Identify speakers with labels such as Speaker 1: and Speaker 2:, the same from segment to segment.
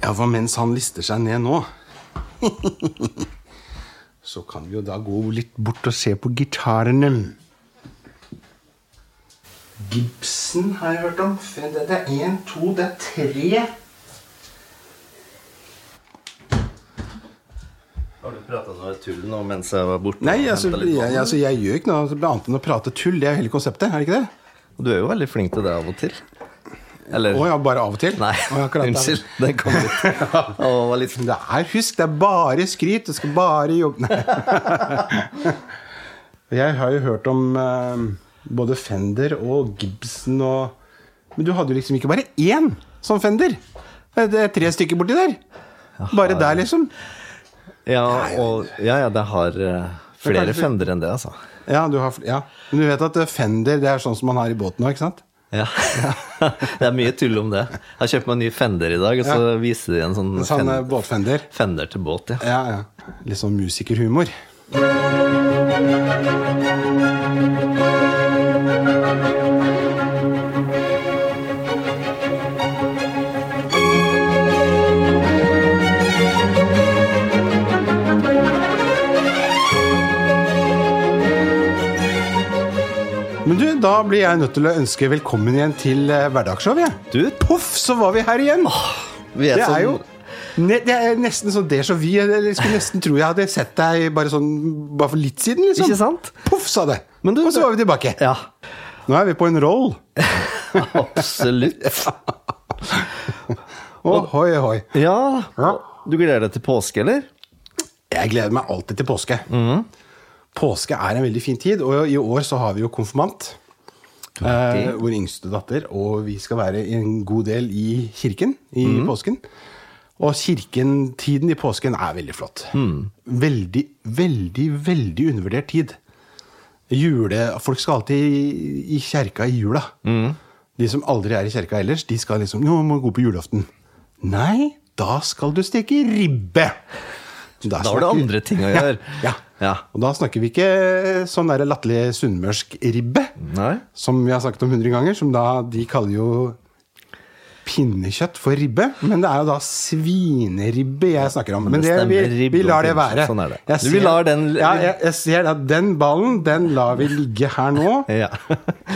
Speaker 1: Ja, for mens han lister seg ned nå Så kan vi jo da gå litt bort og se på gitarene. Gibson har jeg hørt om. Fe- Det det er én, to, det er tre.
Speaker 2: Har du prata noe tull nå mens jeg var borte?
Speaker 1: Nei,
Speaker 2: og
Speaker 1: altså,
Speaker 2: hentet litt
Speaker 1: jeg,
Speaker 2: vann?
Speaker 1: altså, jeg gjør ikke noe annet enn å prate tull. Det er hele konseptet, er det ikke det?
Speaker 2: Du er jo veldig flink til det av og til. Eller
Speaker 1: Å ja, bare av og til?
Speaker 2: Nei,
Speaker 1: Å, ja, akkurat.
Speaker 2: unnskyld. Den kom litt. Å, var litt
Speaker 1: Det er, husk, det er bare skryt. Du skal bare jobbe Nei. Jeg har jo hørt om eh, både Fender og Gibson og Men du hadde jo liksom ikke bare én sånn Fender. Det er tre stykker borti der. Bare der, liksom.
Speaker 2: Ja, og, ja, ja det har eh, flere
Speaker 1: kanskje-
Speaker 2: fender enn det, altså.
Speaker 1: Ja, du har, fl- ja. Men du vet at eh, Fender det er sånn som man har i båten nå, ikke sant?
Speaker 2: Ja. det er mye tull om det. Jeg har kjøpt meg en ny fender i dag, og så viser de en sånn,
Speaker 1: En sånn eh,
Speaker 2: fender,
Speaker 1: båtfender.
Speaker 2: fender til båt, ja.
Speaker 1: Ja, ja. Litt sånn musikerhumor. Men du, Da blir jeg nødt til å ønske velkommen igjen til eh, Hverdagsshow. jeg.
Speaker 2: Du,
Speaker 1: Poff, så var vi her igjen!
Speaker 2: vi er,
Speaker 1: Det
Speaker 2: sånn,
Speaker 1: er jo ne, Det er nesten sånn déjà vu. Jeg jeg skulle nesten tro jeg hadde sett deg bare sånn Bare for litt siden, liksom.
Speaker 2: Ikke sant?
Speaker 1: Poff, sa det.
Speaker 2: Men du-
Speaker 1: og så var vi tilbake.
Speaker 2: Ja,
Speaker 1: Nå er vi på en roll.
Speaker 2: absolutt.
Speaker 1: Ohoi, ohoi.
Speaker 2: Ja, du gleder deg til påske, eller?
Speaker 1: Jeg gleder meg alltid til påske. Påske er en veldig fin tid, og i år så har vi jo konfirmant. Eh, vår yngste datter, og vi skal være en god del i kirken i
Speaker 2: Mhm.
Speaker 1: påsken. Og kirken, tiden i påsken er veldig flott.
Speaker 2: Hmm.
Speaker 1: Veldig, veldig, veldig undervurdert tid. Jule, folk skal alltid i, i kjerka i jula.
Speaker 2: Mhm.
Speaker 1: De som aldri er i kjerka ellers, de skal liksom Jo, må gå på julaften. Nei, da skal du steke ribbe! Da,
Speaker 2: Da har du
Speaker 1: snakker-
Speaker 2: andre ting å gjøre.
Speaker 1: Ja.
Speaker 2: ja.
Speaker 1: Og da snakker vi ikke sånn der latterlig sunnmørsk ribbe,
Speaker 2: Nei?
Speaker 1: som vi har snakket om hundre ganger, som da de kaller jo pinnekjøtt for ribbe. Men det er jo da svineribbe jeg snakker om. Men det,
Speaker 2: stemmer,
Speaker 1: vi,
Speaker 2: ribbe
Speaker 1: vi
Speaker 2: og
Speaker 1: lar det
Speaker 2: pinnekjøtt,
Speaker 1: være.
Speaker 2: sånn er det.
Speaker 1: Jeg
Speaker 2: Du, vi lar den-
Speaker 1: ja, jeg, jeg ser at den ballen, den lar vi ligge her nå.
Speaker 2: Ja.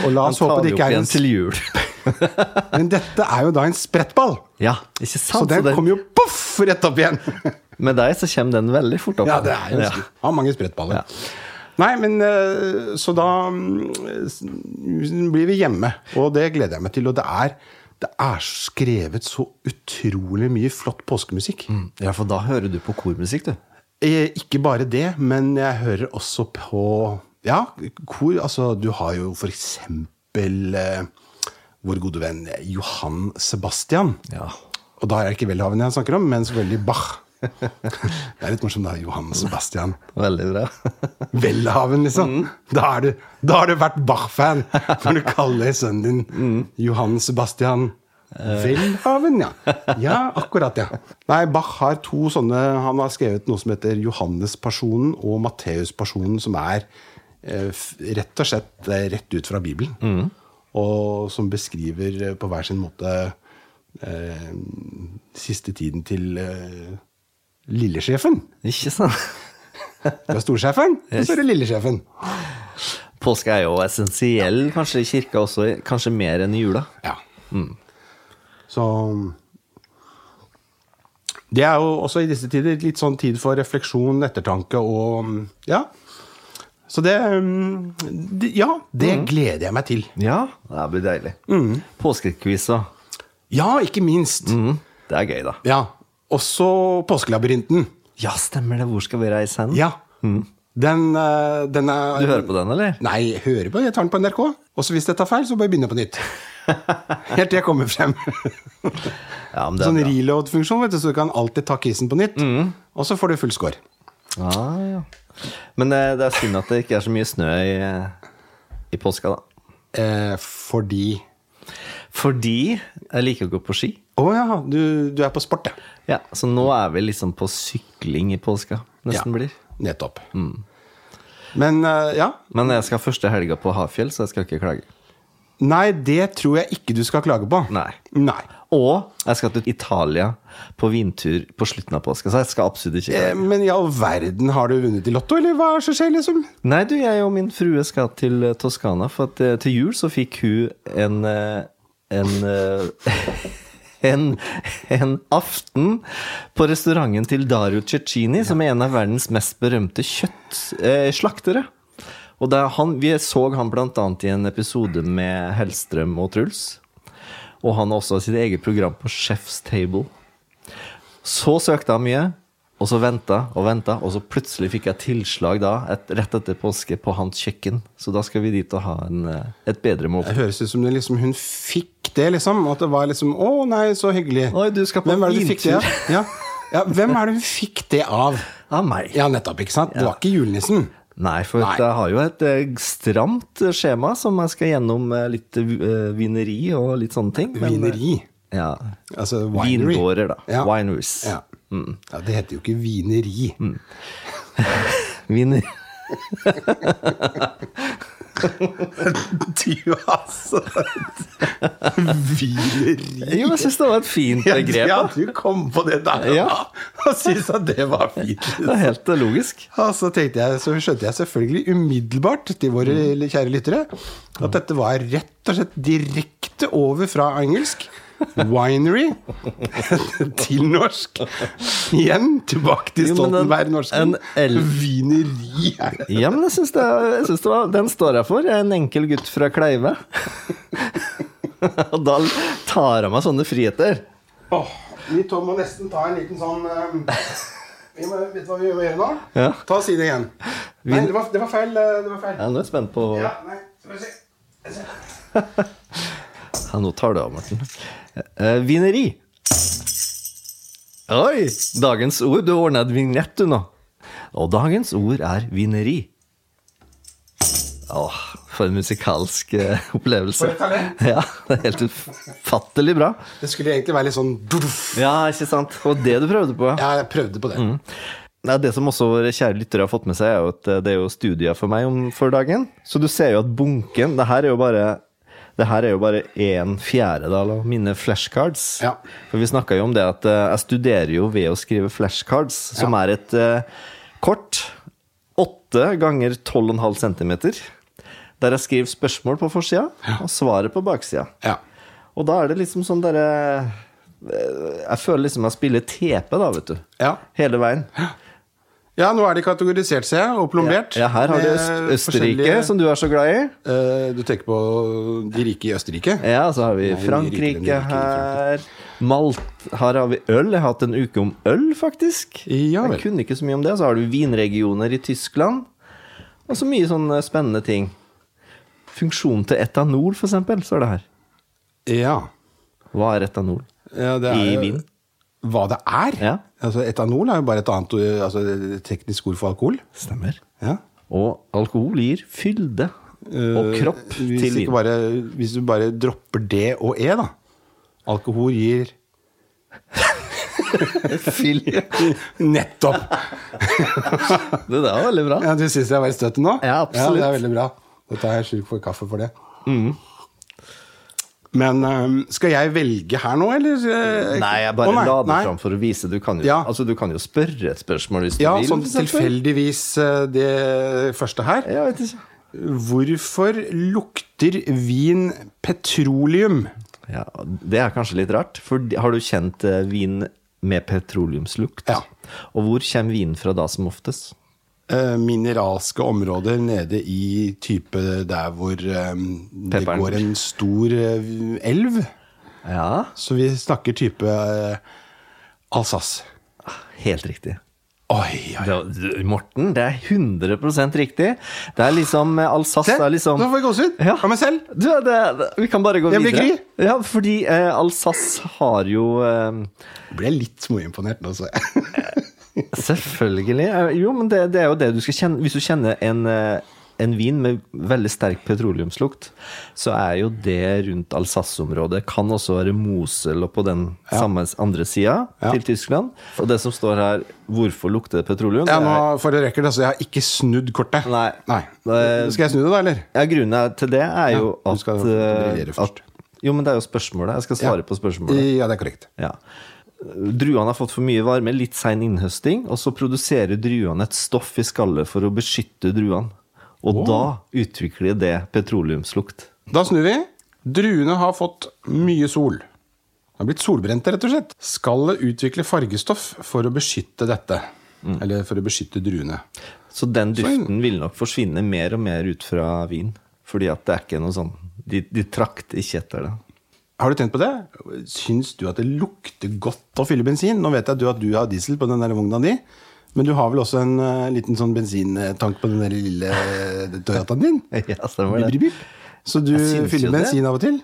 Speaker 1: Og la oss
Speaker 2: Den tar
Speaker 1: håpe
Speaker 2: vi
Speaker 1: det
Speaker 2: opp
Speaker 1: ikke er
Speaker 2: igjen
Speaker 1: en
Speaker 2: til jul.
Speaker 1: Men dette er jo da en sprettball.
Speaker 2: Ja, ikke
Speaker 1: Så
Speaker 2: sant?
Speaker 1: den
Speaker 2: det-
Speaker 1: kommer jo poff rett opp igjen.
Speaker 2: Med deg så kommer den veldig fort opp.
Speaker 1: Ja, det er jo
Speaker 2: Ja.
Speaker 1: ja. Har mange sprettballer.
Speaker 2: Ja.
Speaker 1: Nei, men eh, Så da mm, s- blir vi hjemme, og det gleder jeg meg til. Og det er, det er skrevet så utrolig mye flott påskemusikk.
Speaker 2: Ja, for da hører du på kormusikk, du.
Speaker 1: Eh, Ikke bare det, men jeg hører også på Ja, kor. Altså, du har jo for eksempel eh, vår gode venn Johan Sebastian.
Speaker 2: Ja.
Speaker 1: Og da er det ikke Welhaven jeg snakker om, men selvfølgelig Bach. Det er litt morsomt, da. Johan Sebastian.
Speaker 2: Veldig bra.
Speaker 1: Welhaven, liksom. Da, har du, da har du vært Bach-fan når du kaller sønnen din Johan Sebastian Welhaven, ja. Ja, akkurat, ja. Nei, Bach har to sånne Han har skrevet noe som heter Johannes-pasjonen og Matteus-pasjonen, som er eh, f- rett og slett eh, rett ut fra Bibelen. Og som beskriver eh, på hver sin måte eh, siste tiden til eh, lillesjefen.
Speaker 2: Ikke sant?
Speaker 1: Du er storsjefen, og så er det lillesjefen.
Speaker 2: Påske er jo essensiell, kanskje i kirka også, kanskje mer enn i jula.
Speaker 1: Ja.
Speaker 2: Mm.
Speaker 1: Så Det er jo også i disse tider litt sånn tid for refleksjon, ettertanke og mm, Ja. Så det mm, det- Ja, det
Speaker 2: Mm.
Speaker 1: gleder jeg meg til.
Speaker 2: Ja, det blir deilig.
Speaker 1: Mm.
Speaker 2: Påskequiz òg.
Speaker 1: Ja, ikke minst.
Speaker 2: Mm. Det er gøy, da.
Speaker 1: Ja. Også Påskelabyrinten.
Speaker 2: Ja, stemmer det. Hvor skal vi reise hen?
Speaker 1: Ja. Den, eh, den er
Speaker 2: Mm. Du hører på den, eller?
Speaker 1: Nei, jeg hører på. Jeg tar den på NRK. Og så hvis jeg tar feil, så bare begynne på nytt. Helt til jeg kommer frem.
Speaker 2: Ja, men det er
Speaker 1: Sånn
Speaker 2: bra. Mm.
Speaker 1: reload-funksjon, vet du, så du kan alltid ta quizen på nytt. Og så får du full score.
Speaker 2: Ah, ja. Men eh, det er synd at det ikke er så mye snø i, eh, i påska, da.
Speaker 1: Eh, fordi
Speaker 2: Fordi jeg liker å gå på ski.
Speaker 1: Å ja, du, du er på sport, ja.
Speaker 2: Ja, Så nå er vi liksom på sykling i påska.
Speaker 1: Ja.
Speaker 2: Nesten blir.
Speaker 1: Nettopp.
Speaker 2: Mm.
Speaker 1: Men eh, ja.
Speaker 2: Men jeg skal første helga på Hafjell, så jeg skal ikke klage.
Speaker 1: Nei, det tror jeg ikke du skal klage på.
Speaker 2: Nei.
Speaker 1: Nei.
Speaker 2: Og jeg skal til Italia på vintur på slutten av påska, så jeg skal absolutt ikke
Speaker 1: Eh, Men i all verden, har du vunnet i Lotto, eller hva er det som skjer, liksom?
Speaker 2: Nei, du, jeg og min frue skal til eh, Toskana, for at eh, til jul så fikk hun en eh, en, eh, en, en aften på restauranten til Dario Cecchini, som er en av verdens mest berømte kjøttslaktere. Og da han, vi så han bl.a. i en episode med Hellstrøm og Truls. Og han har også sitt eget program på Chef's Table. Så søkte jeg mye, og så venta og venta, og så plutselig fikk jeg tilslag da, et, rett etter påske, på hans kjøkken. Så da skal vi dit og ha en, eh, et bedre
Speaker 1: Det
Speaker 2: måltid.
Speaker 1: høres ut som det, liksom, hun fikk det, liksom. At det var liksom Å, nei, så hyggelig.
Speaker 2: Oi, du skal på
Speaker 1: hvem er det du fikk det av?
Speaker 2: vintur.
Speaker 1: Ja. Ja, hvem er det hun fikk det av?
Speaker 2: Av meg.
Speaker 1: Ja, nettopp, ikke sant? Det var ikke julenissen.
Speaker 2: Nei, for
Speaker 1: Nei.
Speaker 2: jeg har jo et eh, stramt eh, skjema som jeg skal gjennom eh, litt eh, vineri og litt sånne ting. men, eh,
Speaker 1: Vineri.
Speaker 2: Ja.
Speaker 1: Altså winery.
Speaker 2: Vingårder, da.
Speaker 1: Ja.
Speaker 2: Wineries. Mm.
Speaker 1: Ja. ja, det heter jo ikke vineri.
Speaker 2: Viner.
Speaker 1: Du, altså! vineri.
Speaker 2: Jo, jeg syns det var et fint
Speaker 1: Ja,
Speaker 2: eh, grep.
Speaker 1: ja,
Speaker 2: da.
Speaker 1: du kom på det der og
Speaker 2: Ja.
Speaker 1: da, og syntes at det var fint.
Speaker 2: Det er helt eh, logisk.
Speaker 1: Og så, tenkte jeg, så skjønte jeg selvfølgelig umiddelbart til våre kjære lyttere at dette var rett og slett direkte over fra engelsk winery til norsk. Igjen tilbake til
Speaker 2: Jo, men en-
Speaker 1: Stoltenberg-norsken.
Speaker 2: en L.
Speaker 1: Vineri er det.
Speaker 2: Ja, men jeg syns det, jeg synes det var, den står jeg for. Jeg er en enkel gutt fra Kleive. Og da tar jeg meg sånne friheter.
Speaker 1: Åh, vi to må nesten ta en liten sånn um, vi må, Vet du hva vi må gjøre nå?
Speaker 2: Ja.
Speaker 1: Ta side igjen. Nei, det var, det var feil. eh, Det var feil.
Speaker 2: Jeg er nå spent på
Speaker 1: Ja, nei, skal vi se. Skal vi se.
Speaker 2: ja, Nå tar du av, Morten. Eh, vineri. Oi! Dagens ord. Du ordna et vignett, du, nå. Og dagens ord er vineri. Åh, for en musikalsk eh, opplevelse.
Speaker 1: For et talent.
Speaker 2: Ja, det er helt ufattelig bra.
Speaker 1: Det skulle egentlig være litt sånn duff.
Speaker 2: Ja, ikke sant? Og det du prøvde på. ja.
Speaker 1: Ja, jeg prøvde på det.
Speaker 2: Mm. Nei, det som også våre kjære lyttere har fått med seg, er jo at eh, det er jo studier for meg om for dagen. Så du ser jo at bunken Det her er jo bare det her er jo bare en fjerdedel av mine flashcards.
Speaker 1: Ja.
Speaker 2: For vi snakka jo om det at eh, jeg studerer jo ved å skrive flashcards, som er et eh, kort åtte ganger 12,5 cm, der jeg skriver spørsmål på forsida og svaret på baksida.
Speaker 1: Ja.
Speaker 2: Og da er det liksom sånn derre eh, Jeg føler liksom jeg spiller TP, da, vet du.
Speaker 1: Ja.
Speaker 2: Hele veien.
Speaker 1: ja, nå er de kategorisert, ser jeg, og plombert.
Speaker 2: Ja, her har du
Speaker 1: Med
Speaker 2: Øst Østerrike,
Speaker 1: forskjellige-
Speaker 2: som du er så glad i.
Speaker 1: Eh, du tenker på de rike i Østerrike?
Speaker 2: Ja, så har
Speaker 1: de
Speaker 2: vi
Speaker 1: rikere, de
Speaker 2: Frankrike
Speaker 1: rikere i
Speaker 2: her. Malt, her har vi øl. Jeg har hatt en uke om øl, faktisk.
Speaker 1: Ja vel.
Speaker 2: Jeg kunne ikke så mye om det. Så har du vinregioner i Tyskland. Og så mye sånne spennende ting. Funksjonen til etanol, for eksempel, så er det her.
Speaker 1: Ja.
Speaker 2: Hva er etanol?
Speaker 1: ja det
Speaker 2: I
Speaker 1: jo
Speaker 2: vin.
Speaker 1: Hva det er?
Speaker 2: Ja.
Speaker 1: Altså, etanol er jo bare et annet eh, altså, et teknisk ord for alkohol.
Speaker 2: Stemmer.
Speaker 1: Ja.
Speaker 2: Og alkohol gir fylde og
Speaker 1: Eh,
Speaker 2: kropp
Speaker 1: hvis
Speaker 2: til
Speaker 1: ikke
Speaker 2: vin.
Speaker 1: Bare, hvis du bare dropper D og E, da. Alkohol gir
Speaker 2: Fylde.
Speaker 1: Nettopp!
Speaker 2: Det der var veldig bra.
Speaker 1: Ja, du syns jeg var i støtet nå?
Speaker 2: Ja, absolutt. Mm.
Speaker 1: det er veldig bra. Dette er jeg sjuk for kaffe for det. Men øhm, skal jeg velge her nå, eller? øh,
Speaker 2: Nei, jeg
Speaker 1: å,
Speaker 2: bare
Speaker 1: nei,
Speaker 2: la det
Speaker 1: nei.
Speaker 2: fram for å vise. Du kan jo,
Speaker 1: Ja.
Speaker 2: altså, du kan jo spørre et spørsmål hvis du Eh.
Speaker 1: Ja,
Speaker 2: vil.
Speaker 1: sånn
Speaker 2: for eksempel.
Speaker 1: tilfeldigvis øh, det første her.
Speaker 2: Jeg vet ikke.
Speaker 1: Hvorfor lukter vin petroleum?
Speaker 2: Ja, det er kanskje litt rart. For har du kjent eh, vin med petroleumslukt?
Speaker 1: Ja.
Speaker 2: Og hvor kommer vinen fra da som oftest?
Speaker 1: Eh, mineralske områder nede i type der hvor øhm, det
Speaker 2: Pepperen.
Speaker 1: går en stor øh, elv.
Speaker 2: Ja,
Speaker 1: Så vi snakker type øh, Alsace.
Speaker 2: helt riktig.
Speaker 1: Oi, oi.
Speaker 2: Det, du, Morten, det er 100 riktig. Det er liksom eh, Alsace
Speaker 1: Se,
Speaker 2: er liksom
Speaker 1: nå får jeg gåsehud.
Speaker 2: Ja.
Speaker 1: Av meg selv.
Speaker 2: Du, det, det, vi kan bare gå
Speaker 1: Jeg blir
Speaker 2: videre. Ja, fordi eh, Alsace har jo eh,
Speaker 1: Ble litt småimponert nå, så jeg.
Speaker 2: Selvfølgelig. Eh, Jo, men det, det er jo det du skal kjenne. Hvis du kjenner en, eh, en vin med veldig sterk petroleumslukt, så er jo det rundt Alsace-området. Kan også være Mosel og på den samme andre sida
Speaker 1: Ja.
Speaker 2: til Tyskland. Og det som står her, hvorfor lukter det petroleum?
Speaker 1: Ja,
Speaker 2: det
Speaker 1: nå
Speaker 2: er-
Speaker 1: for det rekker det, så jeg har ikke snudd kortet.
Speaker 2: Nei.
Speaker 1: Skal jeg snu det, da, eller?
Speaker 2: ja, grunnen til det er jo
Speaker 1: du
Speaker 2: at,
Speaker 1: skal
Speaker 2: eh,
Speaker 1: briljere
Speaker 2: at
Speaker 1: først.
Speaker 2: Jo, men det er jo spørsmålet. Jeg skal svare
Speaker 1: Ja.
Speaker 2: på spørsmålet.
Speaker 1: Ja, det er korrekt.
Speaker 2: Ja. Druene har fått for mye varme, litt sein innhøsting, og så produserer druene et stoff i skallet for å beskytte druene. Og da utvikler det petroleumslukt.
Speaker 1: Da snur vi. Druene har fått mye sol. De har blitt solbrente, rett og slett. Skallet utvikler fargestoff for å beskytte dette. Eller for å beskytte druene.
Speaker 2: Så den duften vil nok forsvinne mer og mer ut fra vin. Fordi at det er ikke noe sånn De, de trakt ikke etter det.
Speaker 1: Har du tenkt på det? Syns du at det lukter godt å fylle bensin? Nå vet jeg at du, at du har diesel på den der vogna di, men du har vel også en eh, liten sånn bensintank på den der lille eh, Toyotaen din?
Speaker 2: Ja, stemmer
Speaker 1: Bip, bip,
Speaker 2: det.
Speaker 1: bip. Så du
Speaker 2: Jeg syns jo
Speaker 1: fyller
Speaker 2: det.
Speaker 1: bensin av og til?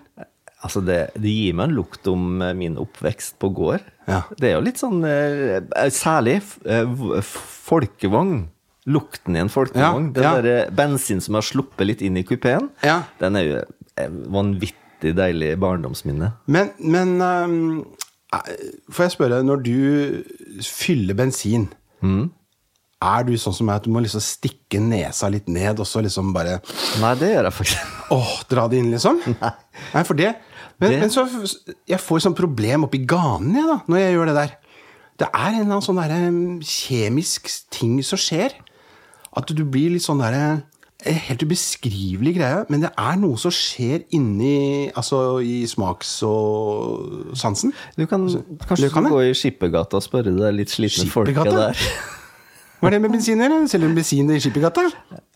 Speaker 2: Altså, det, det gir meg en lukt om eh, min oppvekst på gård.
Speaker 1: Ja.
Speaker 2: Det er jo litt sånn eh, eh, Særlig eh, v- f- folkevogn. Lukten i en folkevogn.
Speaker 1: Ja,
Speaker 2: Den
Speaker 1: ja.
Speaker 2: der eh, bensin som har sluppet litt inn i kupeen,
Speaker 1: Ja.
Speaker 2: den er jo et vanvittig deilig barndomsminne.
Speaker 1: Men, men ehm, eh, får jeg spørre, når du fyller bensin,
Speaker 2: Mm.
Speaker 1: er du sånn som er at du må liksom stikke nesa litt ned, og så liksom bare
Speaker 2: Nei, det gjør jeg faktisk.
Speaker 1: åh, dra det inn, liksom? Nei. for det Men,
Speaker 2: Det-
Speaker 1: men så Jeg får sånn problem oppi ganen, jeg, da, når jeg gjør det der. Det er en eller annen sånn derre mm, kjemisk ting som skjer. At du blir litt sånn derre en Helt ubeskrivelig greie, men det er noe som skjer inni Altså i smaks- og sansen.
Speaker 2: Du kan kanskje
Speaker 1: det Altså, kan jeg.
Speaker 2: gå i Skippergata og spørre det litt slitne folket
Speaker 1: Skippergata?
Speaker 2: der.
Speaker 1: Hva er det med bensin å gjøre? Selger de bensin i Skippergata?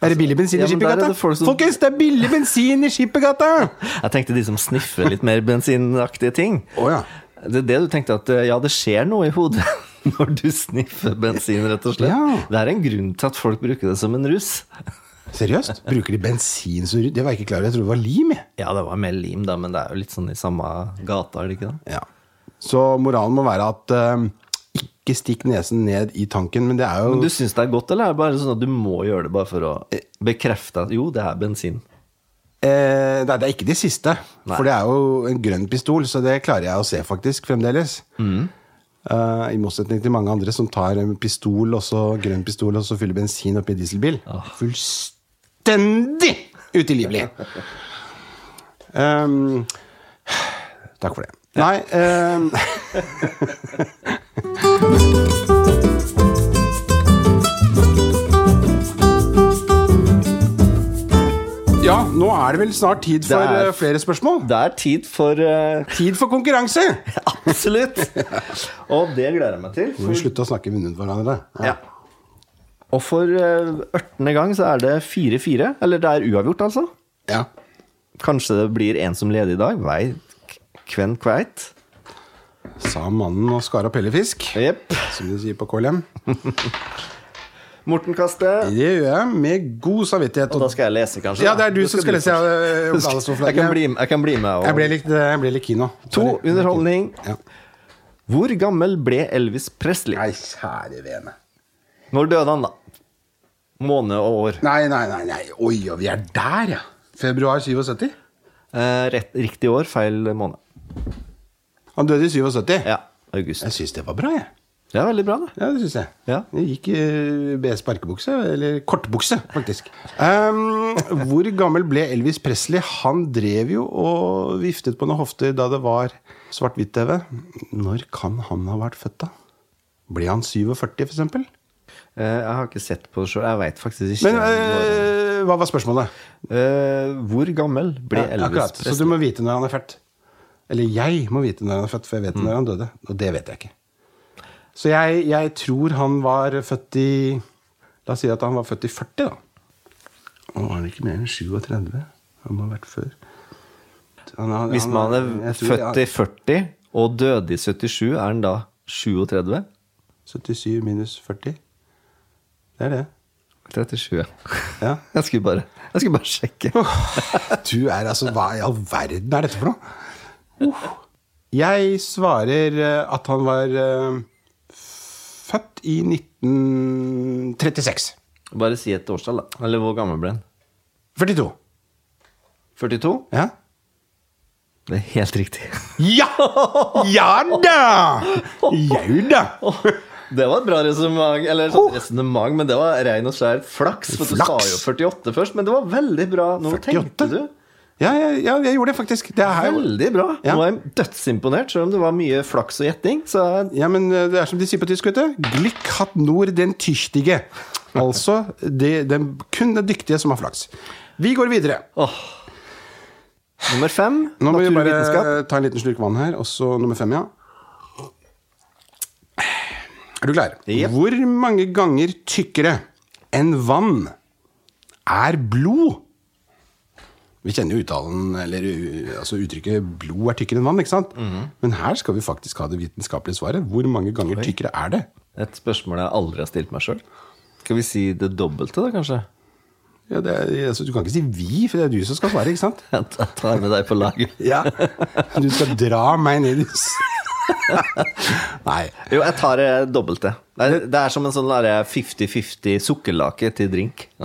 Speaker 1: Er det billig bensin
Speaker 2: ja,
Speaker 1: i
Speaker 2: men der er
Speaker 1: Skippergata?
Speaker 2: det folk som-
Speaker 1: Folkens, det er billig bensin i Skippergata!
Speaker 2: Jeg tenkte de som sniffer litt mer bensinaktige ting.
Speaker 1: Å, ja.
Speaker 2: Det er det du tenkte at eh, ja, det skjer noe i hodet når du sniffer bensin, rett og slett.
Speaker 1: Ja.
Speaker 2: Det er en grunn til at folk bruker det som en rus.
Speaker 1: Seriøst? Bruker de bensin som Det var jeg ikke klar over. Jeg trodde det var lim. jeg.
Speaker 2: Ja, det var mer lim, da, men det er jo litt sånn i samme gata, er det ikke det?
Speaker 1: Ja. Så moralen må være at eh, ikke stikk nesen ned i tanken, men det er jo
Speaker 2: Men du syns det er godt, eller er det bare sånn at du må gjøre det bare for å eh, bekrefte at jo, det er bensin?
Speaker 1: Eh, nei, det er ikke de siste.
Speaker 2: Nei.
Speaker 1: For det er jo en grønn pistol, så det klarer jeg å se faktisk fremdeles.
Speaker 2: Mm.
Speaker 1: Eh, I motsetning til mange andre som tar en pistol og så grønn pistol og så fyller bensin oppi dieselbil. Fullstendig utilgivelig! Ehm, takk for det. Nei ehm, Ja, nå er det vel snart tid for
Speaker 2: Det er-
Speaker 1: eh, flere spørsmål.
Speaker 2: Det er tid for eh,
Speaker 1: Tid for konkurranse!
Speaker 2: Absolutt! Og det gleder jeg meg til.
Speaker 1: Må vi slutte å snakke i munnen på hverandre?
Speaker 2: Ja. Og for eh, ørtende gang så er det 4-4. Eller det er uavgjort, altså.
Speaker 1: Ja.
Speaker 2: Kanskje det blir en som leder i dag. Vei k- kven kveit.
Speaker 1: Sa mannen og skar opp hellefisk,
Speaker 2: Jepp.
Speaker 1: som de sier på KLM.
Speaker 2: Morten Kaste.
Speaker 1: Det gjør jeg med god samvittighet.
Speaker 2: Og da skal jeg lese, kanskje.
Speaker 1: Ja, det
Speaker 2: da.
Speaker 1: er du som skal
Speaker 2: du
Speaker 1: lese.
Speaker 2: først.
Speaker 1: Jeg,
Speaker 2: Jeg kan bli, jeg kan bli med.
Speaker 1: jeg ble
Speaker 2: Og...
Speaker 1: litt, eh, jeg ble litt kino.
Speaker 2: To underholdning.
Speaker 1: Ja.
Speaker 2: Hvor gammel ble Elvis Presley?
Speaker 1: Nei, kjære vene.
Speaker 2: Når døde han, da? Måned og år.
Speaker 1: Nei, nei, nei. nei. Oi, ja, vi er der, ja. Februar 77.
Speaker 2: Eh, rett, riktig år, feil måned.
Speaker 1: Han døde i 77.
Speaker 2: Ja, august.
Speaker 1: Jeg syns det var bra, jeg.
Speaker 2: Det er veldig bra, det.
Speaker 1: Ja, det syns jeg.
Speaker 2: Ja.
Speaker 1: Jeg gikk eh, BS sparkebukse, eller kortbukse, faktisk. Um, hvor gammel ble Elvis Presley? Han drev jo og viftet på noen hofter da det var svart-hvitt-TV. Når kan han ha vært født, da? Ble han 47, for eksempel?
Speaker 2: Eh, jeg har ikke sett på det sjøl. Jeg veit faktisk ikke.
Speaker 1: Men
Speaker 2: når han-
Speaker 1: eh, hva var spørsmålet?
Speaker 2: Eh, hvor gammel ble
Speaker 1: Ja,
Speaker 2: Elvis
Speaker 1: akkurat. Så
Speaker 2: Presley?
Speaker 1: du må vite når han er født. Eller jeg må vite når han er født, for jeg
Speaker 2: Mm.
Speaker 1: vet når han døde. Og det vet jeg ikke. Så jeg, jeg tror han var født i La oss si at han var født i 40, da. Nå var han ikke mer enn 37. Han må ha vært før. Han- han-
Speaker 2: Hvis
Speaker 1: han-
Speaker 2: man er
Speaker 1: jeg tror-
Speaker 2: født i 40 og døde i 77, er han da 37?
Speaker 1: ja, 77 minus 40. Det er det.
Speaker 2: 37, ja.
Speaker 1: Ja.
Speaker 2: Jeg skulle bare, jeg skulle bare sjekke.
Speaker 1: Du er altså Hva i all verden er dette for noe? Uff. Jeg svarer eh, at han var eh, født i 1936.
Speaker 2: Bare si et årstall, da. Eller hvor gammel ble han?
Speaker 1: 42.
Speaker 2: 42?
Speaker 1: Ja?
Speaker 2: Det er helt riktig.
Speaker 1: Ja! Ja da! Jau da!
Speaker 2: Det var et bra resonnement, eller sånn resonnement, men det var rein og skjær flaks. For du sa
Speaker 1: Flaks?
Speaker 2: jo 48 først, men det var veldig bra. Nå tenkte
Speaker 1: 48?
Speaker 2: du.
Speaker 1: Ja, ja, ja, jeg gjorde det faktisk. Det er jo
Speaker 2: Veldig bra.
Speaker 1: Ja.
Speaker 2: Nå er jeg dødsimponert, selv om det var mye flaks og gjetting. Så
Speaker 1: Ja, men eh, det er som de sier på tysk, vet du. Glück hat nur den tüchtige. Altså det, den, kun den dyktige som har flaks. Vi går videre.
Speaker 2: åh. Nummer fem,
Speaker 1: Nå må vi bare
Speaker 2: naturvitenskap.
Speaker 1: eh, ta en liten slurk vann her, og så nummer fem, ja. Er du klar?
Speaker 2: Jep.
Speaker 1: Hvor mange ganger tykkere enn vann er blod? Vi kjenner jo uttalen, eller u- altså uttrykket 'blod er tykkere enn vann'. ikke sant?
Speaker 2: Mhm.
Speaker 1: Men her skal vi faktisk ha det vitenskapelige svaret. Hvor mange ganger tykkere er det?
Speaker 2: Et spørsmål jeg aldri har stilt meg sjøl. Skal vi si det dobbelte, da, kanskje?
Speaker 1: Ja, det er, altså, du kan ikke si 'vi', for det er du som skal svare. ikke sant?
Speaker 2: Jeg tar med deg på laget.
Speaker 1: Ja. Du skal dra meg ned i s- Nei.
Speaker 2: Jo, jeg tar det dobbelte. Det er, det er som en sånn derre 50-50 sukkerlake til drink.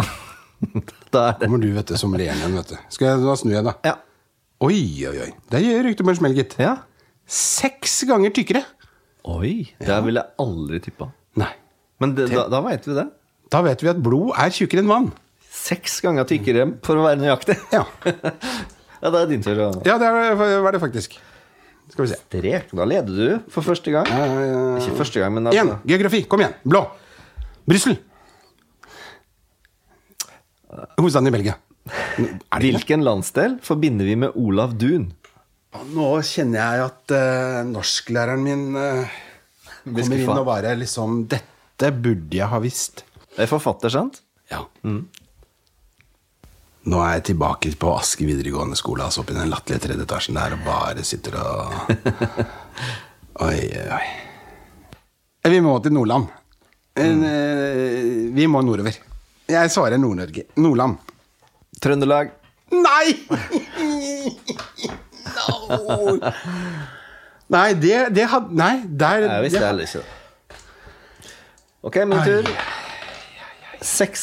Speaker 2: da er det
Speaker 1: kommer du vet du, som ler igjen, vet du. Skal jeg, da snur jeg, da.
Speaker 2: Ja.
Speaker 1: Oi, oi, oi. Der gjør ryktet på en smell, gitt.
Speaker 2: ja.
Speaker 1: Seks ganger tykkere!
Speaker 2: Oi. Det ville jeg aldri tippa.
Speaker 1: Nei.
Speaker 2: Men det, da, da veit vi det.
Speaker 1: Da vet vi at blod er tjukkere enn vann.
Speaker 2: Seks ganger tykkere, for å være nøyaktig.
Speaker 1: Ja,
Speaker 2: Ja, da er det din tur. å-
Speaker 1: ja det er- var det faktisk. Skal vi se.
Speaker 2: Strek. Da leder du for første gang. Ikke første gang, men
Speaker 1: Én.
Speaker 2: altså,
Speaker 1: Geografi. Kom igjen. Blå. Brussel. Hovedstaden i Belgia. Er det ikke det?
Speaker 2: Hvilken landsdel forbinder vi med Olav Duun?
Speaker 1: Nå kjenner jeg at eh, norsklæreren min eh, kommer inn
Speaker 2: skuffa.
Speaker 1: og bare liksom Dette burde jeg ha visst.
Speaker 2: Det er forfatter, sant?
Speaker 1: Ja. Nå er jeg tilbake på Aske videregående skole, altså oppe i den latterlige tredje etasjen der, og bare sitter og Oi, oi, oi. Eh, Vi må til Nordland. En, eh, Vi må nordover. Jeg svarer Nord-Norge. Nordland.
Speaker 2: Trøndelag.
Speaker 1: Nei! no. Nei, det, det hadde Nei, der
Speaker 2: Jeg visste
Speaker 1: det-
Speaker 2: heller ikke det. Ok, min tur. Sex,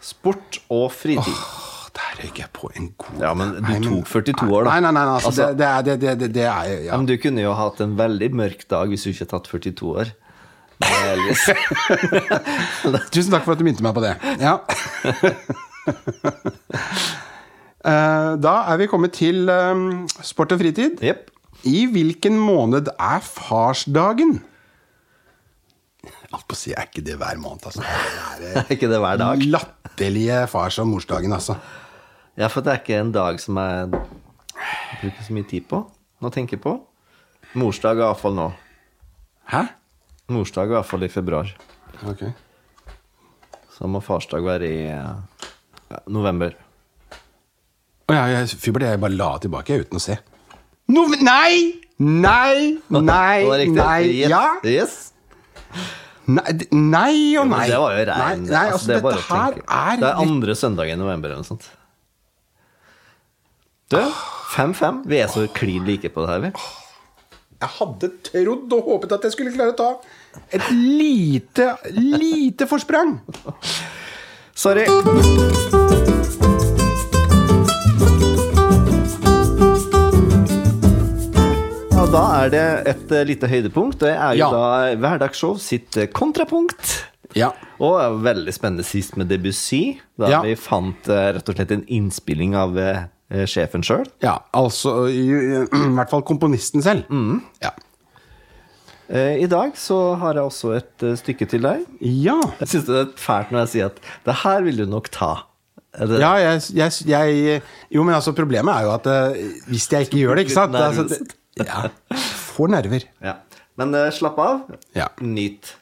Speaker 2: sport og fritid.
Speaker 1: Åh, Der røyk jeg på en god
Speaker 2: Ja, men du
Speaker 1: Nei,
Speaker 2: tok 42 år, da.
Speaker 1: Nei, nei, nei, nei altså,
Speaker 2: Altså-
Speaker 1: det, det, er- det, det, det, det er jo ja.
Speaker 2: Men du kunne jo hatt en veldig mørk dag hvis du ikke hadde tatt 42 år. Det er litt-
Speaker 1: Tusen takk for at du minte meg på det. Ja. Eh, da er vi kommet til eh, sport og fritid.
Speaker 2: Jepp.
Speaker 1: I hvilken måned er farsdagen? Alt på å si er ikke det hver måned, altså. Det er
Speaker 2: Er ikke det hver
Speaker 1: eh,
Speaker 2: dag?
Speaker 1: latterlige fars- og morsdagen, altså.
Speaker 2: Ja, for det er ikke en dag som jeg bruker så mye tid på å tenke på. Morsdag er iallfall nå.
Speaker 1: Hæ?
Speaker 2: Morsdag er iallfall i februar.
Speaker 1: Ok.
Speaker 2: Så må farsdag være i eh, november.
Speaker 1: Å ja, jeg, fy, jeg bare la tilbake jeg, uten å se. No, nei! Nei!
Speaker 2: Det var
Speaker 1: Nei!
Speaker 2: riktig.
Speaker 1: Nei!
Speaker 2: Yes.
Speaker 1: Ja!
Speaker 2: Yes.
Speaker 1: Nei, d- nei og nei.
Speaker 2: Men Det var jo
Speaker 1: Nei,
Speaker 2: rein.
Speaker 1: nei,
Speaker 2: altså,
Speaker 1: altså,
Speaker 2: det er bare
Speaker 1: dette
Speaker 2: å
Speaker 1: her
Speaker 2: tenke.
Speaker 1: er,
Speaker 2: Det er andre søndag i november eller noe sånt. Du, 5-5. Vi er så klin like på det her, vi.
Speaker 1: Jeg hadde trodd og håpet at jeg skulle klare å ta et lite, lite forsprang.
Speaker 2: Sorry. Og da er det et eh, lite høydepunkt. Det er jo
Speaker 1: Ja.
Speaker 2: da Hverdagsshow sitt eh, kontrapunkt.
Speaker 1: Ja.
Speaker 2: Og det var veldig spennende sist med Debussy, da
Speaker 1: Ja.
Speaker 2: vi fant eh, rett og slett en innspilling av eh, eh, sjefen sjøl.
Speaker 1: ja altså i, i hvert fall komponisten selv.
Speaker 2: Mm.
Speaker 1: Ja.
Speaker 2: Eh, I dag så har jeg også et eh, stykke til deg.
Speaker 1: Ja,
Speaker 2: Jeg syns det er fælt når jeg sier at det her vil du nok ta. Er det-
Speaker 1: ja jeg, jeg, jeg Jo, men altså, problemet er jo at eh, hvis jeg ikke gjør det, ikke sant
Speaker 2: Litt
Speaker 1: altså, det, ja. Får nerver.
Speaker 2: Ja. Men eh, slapp av.
Speaker 1: Ja.
Speaker 2: Nyt.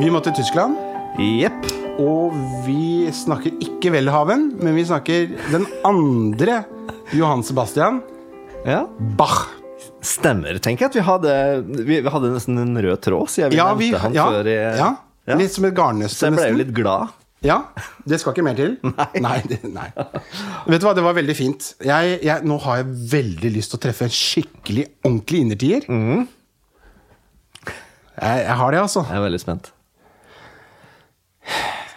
Speaker 1: Vi må til Tyskland,
Speaker 2: Jepp.
Speaker 1: og vi snakker ikke Welhaven, men vi snakker den andre Johan Sebastian,
Speaker 2: Ja.
Speaker 1: Bach.
Speaker 2: Stemmer. Tenk at vi hadde, vi, vi hadde nesten en rød tråd, siden vi
Speaker 1: Ja,
Speaker 2: nevnte
Speaker 1: vi,
Speaker 2: han
Speaker 1: ja,
Speaker 2: før. i-
Speaker 1: ja.
Speaker 2: Ja.
Speaker 1: Litt som et
Speaker 2: Så
Speaker 1: garnnøste,
Speaker 2: jeg ble jo
Speaker 1: nesten.
Speaker 2: litt glad.
Speaker 1: Ja, Det skal ikke mer til? Nei. det, nei. Vet du hva, det var veldig fint. Jeg, jeg, nå har jeg veldig lyst til å treffe en skikkelig
Speaker 2: Mhm.
Speaker 1: ordentlig innertier. Jeg, jeg har det, altså.
Speaker 2: Jeg er veldig spent.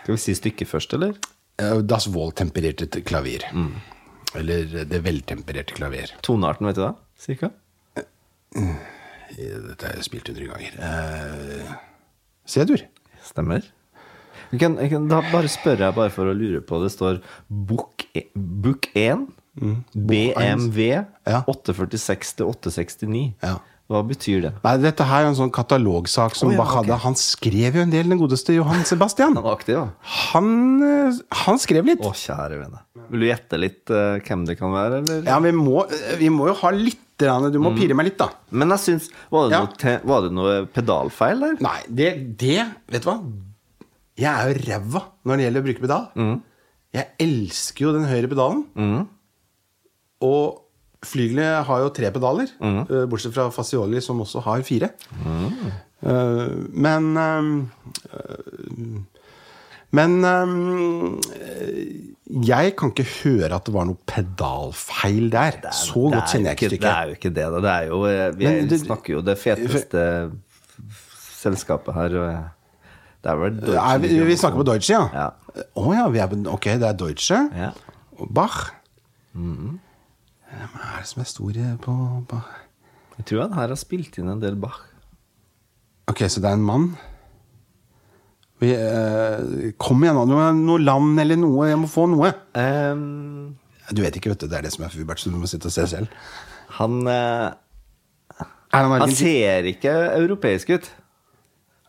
Speaker 2: Skal vi si stykket først, eller?
Speaker 1: Eh, Das Wohl-tempererte t- klavier.
Speaker 2: Mm.
Speaker 1: Eller Det veltempererte klavier.
Speaker 2: Tonearten, vet du det? Cirka?
Speaker 1: Eh, Dette har jeg spilt hundre ganger. Eh, C-dur.
Speaker 2: Stemmer. Jeg kan, jeg kan da bare spørre jeg bare for å lure på. Det står Book, e- book 1, BMV,
Speaker 1: Mm. Ja.
Speaker 2: 846 til 869.
Speaker 1: Ja.
Speaker 2: Hva betyr det?
Speaker 1: Nei, dette her er en sånn katalogsak som
Speaker 2: Å, ja,
Speaker 1: Bach hadde. Han skrev jo en del, den godeste Johan Sebastian.
Speaker 2: Han var aktiv, da.
Speaker 1: Han, eh, han skrev litt.
Speaker 2: Å, kjære vene. Vil du gjette litt eh, hvem det kan være, eller?
Speaker 1: Ja, vi må, eh, vi må jo ha litt grann-
Speaker 2: Mm.
Speaker 1: Du må pire meg litt, da.
Speaker 2: Men jeg syns Var det,
Speaker 1: Ja.
Speaker 2: noe, te- var det noe pedalfeil der?
Speaker 1: Nei, det, det Vet du hva? Jeg er jo ræva når det gjelder å bruke pedal.
Speaker 2: Mm.
Speaker 1: Jeg elsker jo den høyre pedalen. Og flygelet har jo tre pedaler,
Speaker 2: Mm.
Speaker 1: eh, bortsett fra Fasioli, som også har fire. Eh, men eh, eh, Men eh, jeg kan ikke høre at det var noe pedalfeil der. Så
Speaker 2: Det er
Speaker 1: godt kjenner jeg
Speaker 2: jo
Speaker 1: ikke
Speaker 2: Det
Speaker 1: stykket.
Speaker 2: er jo ikke det, da. Det er jo, eh, vi
Speaker 1: Men det-
Speaker 2: snakker jo det feteste selskapet her. og, eh, Det er vel
Speaker 1: Er
Speaker 2: Deutsche
Speaker 1: vi, vi snakker på Deutsche, ja?
Speaker 2: Ja.
Speaker 1: Å ja, vi er på, ok, det er Deutsche.
Speaker 2: Ja.
Speaker 1: Og Bach. Hvem er det som er store på Bach?
Speaker 2: Jeg tror han her har spilt inn en del Bach.
Speaker 1: Ok, så det er en mann. Vi, eh, kom igjen, da. Noe, noe land eller noe. Jeg må få noe.
Speaker 2: Ehm,
Speaker 1: Du vet ikke, vet du. Det er det som er fubert, så du må sitte og se selv.
Speaker 2: han, eh,
Speaker 1: Er han
Speaker 2: han
Speaker 1: argentin?
Speaker 2: ser ikke europeisk ut.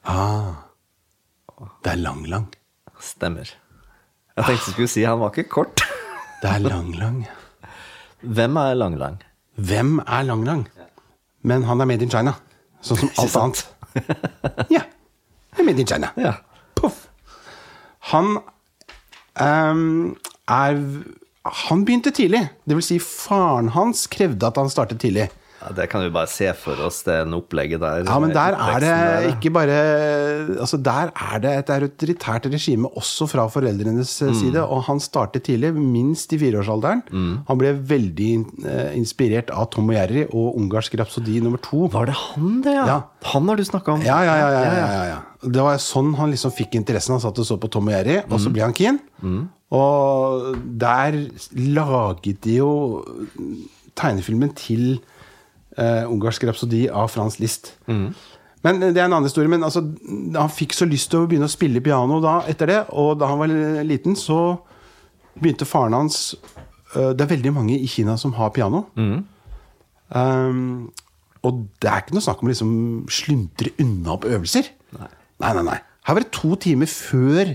Speaker 1: Ah. Det er lang-lang.
Speaker 2: Stemmer. Jeg tenkte jeg skulle si han var ikke kort.
Speaker 1: Det er lang-lang.
Speaker 2: Hvem er Lang-Lang?
Speaker 1: Hvem er lang-lang? Men han er made in China. Sånn som alt annet. Ja. Han er made in China.
Speaker 2: Ja.
Speaker 1: Poff. Han ehm, er Han begynte tidlig. Det vil si, faren hans krevde at han startet tidlig.
Speaker 2: ja, det kan vi bare se for oss, det er opplegget der.
Speaker 1: Ja, men der er
Speaker 2: oppveksten der,
Speaker 1: det
Speaker 2: ja.
Speaker 1: ikke bare Altså, der er det et autoritært regime også fra foreldrenes eh, side, og han startet tidlig, minst i fireårsalderen. Han ble veldig eh, inspirert av Tom og Jerry og ungarsk rapsodi nummer to.
Speaker 2: Var det han, det, ja?
Speaker 1: Ja.
Speaker 2: Han har du snakka om.
Speaker 1: Ja, ja, sånn. ja, ja, ja, ja, ja. Det var sånn han liksom fikk interessen. Han satt og så på Tom og Jerry, og så ble han keen. Og der laget de jo tegnefilmen til eh, ungarsk rapsodi av Frans List. Men det er en annen historie, men altså, han fikk så lyst til å begynne å spille piano da, etter det. Og da han var liten, så begynte faren hans eh, Det er veldig mange i Kina som har piano. Um, og det er ikke noe snakk om å liksom sluntre unna på øvelser. Nei. nei, nei, Her var det to timer før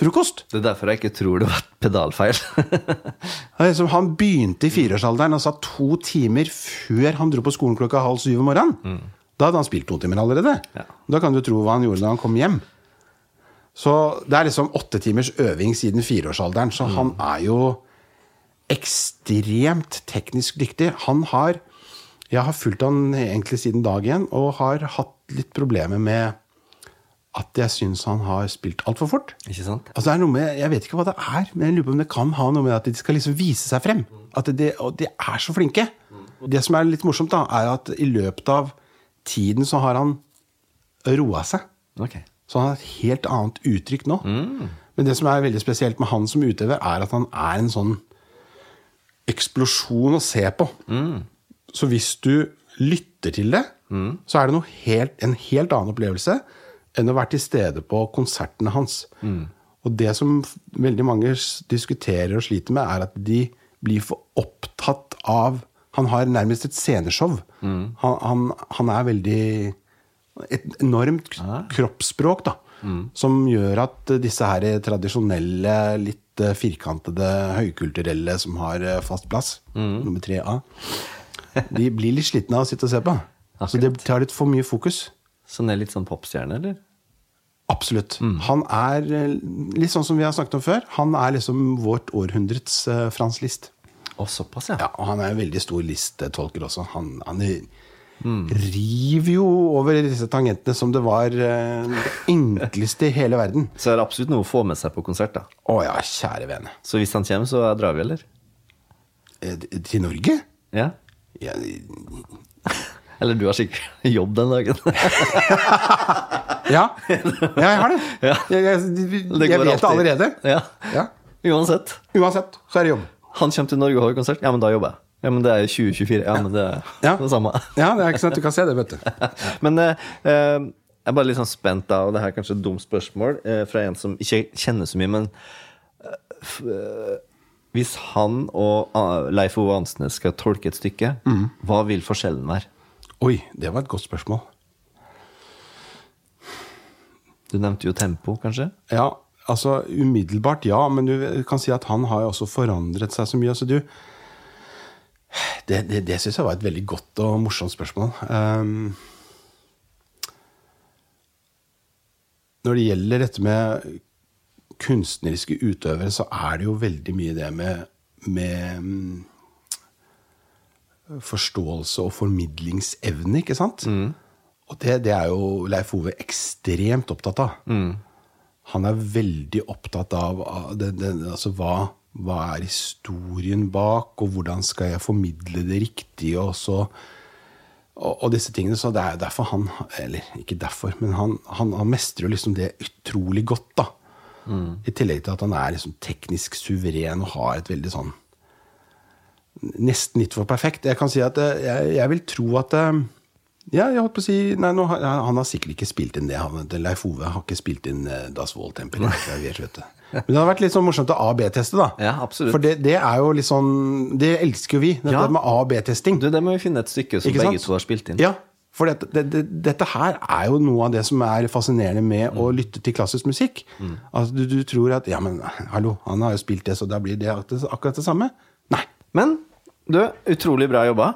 Speaker 1: frokost.
Speaker 2: Det er derfor jeg ikke tror det var et pedalfeil.
Speaker 1: Det er liksom, Han begynte i fireårsalderen og satt to timer før han dro på skolen klokka halv syv om morgenen. Da hadde han spilt to timer allerede.
Speaker 2: Ja.
Speaker 1: Da kan du tro hva han gjorde da han kom hjem. Så det er liksom åtte timers øving siden fireårsalderen, så han er jo ekstremt teknisk dyktig. Han har Jeg har fulgt han egentlig siden dag én, og har hatt litt problemer med at jeg syns han har spilt altfor fort.
Speaker 2: ikke sant?
Speaker 1: Altså det er noe med, Jeg vet ikke hva det er, men jeg lurer på om det kan ha noe med at de skal liksom vise seg frem. At de, og de er så flinke. Og Det som er litt morsomt, da, er at i løpet av tiden så har han roa seg.
Speaker 2: Ok.
Speaker 1: Så han har et helt annet uttrykk nå. Men det som er veldig spesielt med han som utøver, er at han er en sånn eksplosjon å se på. Så hvis du lytter til det, så er det noe helt, en helt annen opplevelse enn å være til stede på konsertene hans. Og det som f- veldig mange s- diskuterer og sliter med, er at de blir for opptatt av Han har nærmest et sceneshow. Han, han, han er veldig Et enormt k- kroppsspråk, da. Som gjør at eh, disse her tradisjonelle, litt eh, firkantede, høykulturelle som har eh, fast plass, nummer tre A, de blir litt slitne av å sitte og se på. Så det tar litt for mye fokus.
Speaker 2: Så han er litt sånn popstjerne, eller?
Speaker 1: Absolutt. Han er eh, litt sånn som vi har snakket om før. Han er liksom vårt århundrets eh, Frans List.
Speaker 2: Å, såpass, ja.
Speaker 1: Ja, og han er en veldig stor listetolker også. Han, han
Speaker 2: Mm.
Speaker 1: river jo over disse tangentene som det var eh, det enkleste i hele verden.
Speaker 2: Så er det absolutt noe å få med seg på konsert, da.
Speaker 1: Å ja, kjære vene.
Speaker 2: Så hvis han kommer, så drar vi, eller?
Speaker 1: Eh, Til Norge?
Speaker 2: Ja?
Speaker 1: Ja,
Speaker 2: Eller du har sikkert jobb den dagen.
Speaker 1: Ja, ja jeg har det.
Speaker 2: Ja.
Speaker 1: Jeg, jeg,
Speaker 2: Det
Speaker 1: jeg
Speaker 2: går
Speaker 1: vet det
Speaker 2: alltid.
Speaker 1: allerede.
Speaker 2: Ja.
Speaker 1: Ja.
Speaker 2: Uansett.
Speaker 1: Uansett, så er det jobb.
Speaker 2: Han kommer til Norge og har konsert. Ja, men da jobber jeg. Ja, men det er jo 2024. Ja, men det er
Speaker 1: Ja.
Speaker 2: det samme.
Speaker 1: Ja, det er ikke sånn at du kan se det, vet du.
Speaker 2: Men eh, eh, jeg er bare litt sånn spent da, og det her er kanskje et dumt spørsmål eh, fra en som ikke kjenner så mye, men eh, f- eh, hvis han og ah, Leif Ove Ansnes skal tolke et stykke,
Speaker 1: Mm.
Speaker 2: hva vil forskjellen være?
Speaker 1: Oi, det var et godt spørsmål.
Speaker 2: Du nevnte jo tempo, kanskje?
Speaker 1: Ja, altså umiddelbart ja, men du kan si at han har jo også forandret seg så mye. Altså, du, det det, det syns jeg var et veldig godt og morsomt spørsmål. Ehm, når det gjelder dette med kunstneriske utøvere, så er det jo veldig mye det med, med mm, forståelse og formidlingsevne, ikke sant? Og det, det er jo Leif Ove ekstremt opptatt av. Han er veldig opptatt av av det, det, altså hva, hva er historien bak, og hvordan skal jeg formidle det riktig, og så og, og disse tingene, så det er derfor han Eller ikke derfor, men han, han, han mestrer jo liksom det utrolig godt, da.
Speaker 2: Mm.
Speaker 1: I tillegg til at han er liksom teknisk suveren og har et veldig sånn Nesten litt for perfekt. Jeg kan si at eh, jeg, jeg vil tro at eh, Ja, jeg holdt på å si nei, nå, har- Han har sikkert ikke spilt inn det. Han, Leif Ove har ikke spilt inn eh, Das Wohl-tempel. Men det hadde vært litt sånn morsomt å A- og B-teste, da.
Speaker 2: Ja, absolutt.
Speaker 1: For det, det er jo litt sånn Det elsker jo vi, dette
Speaker 2: Ja.
Speaker 1: med A- og B-testing.
Speaker 2: Du, det må vi finne et stykke som
Speaker 1: Ikke
Speaker 2: begge
Speaker 1: sant?
Speaker 2: to har spilt inn.
Speaker 1: Ja, for dette, det, det, dette her er jo noe av det som er fascinerende med å
Speaker 2: Mm.
Speaker 1: lytte til klassisk musikk. Altså, du, du tror at Ja, men hallo, han har jo spilt det, så da blir det akkurat akkurat det samme. Nei.
Speaker 2: Men du, utrolig bra jobba.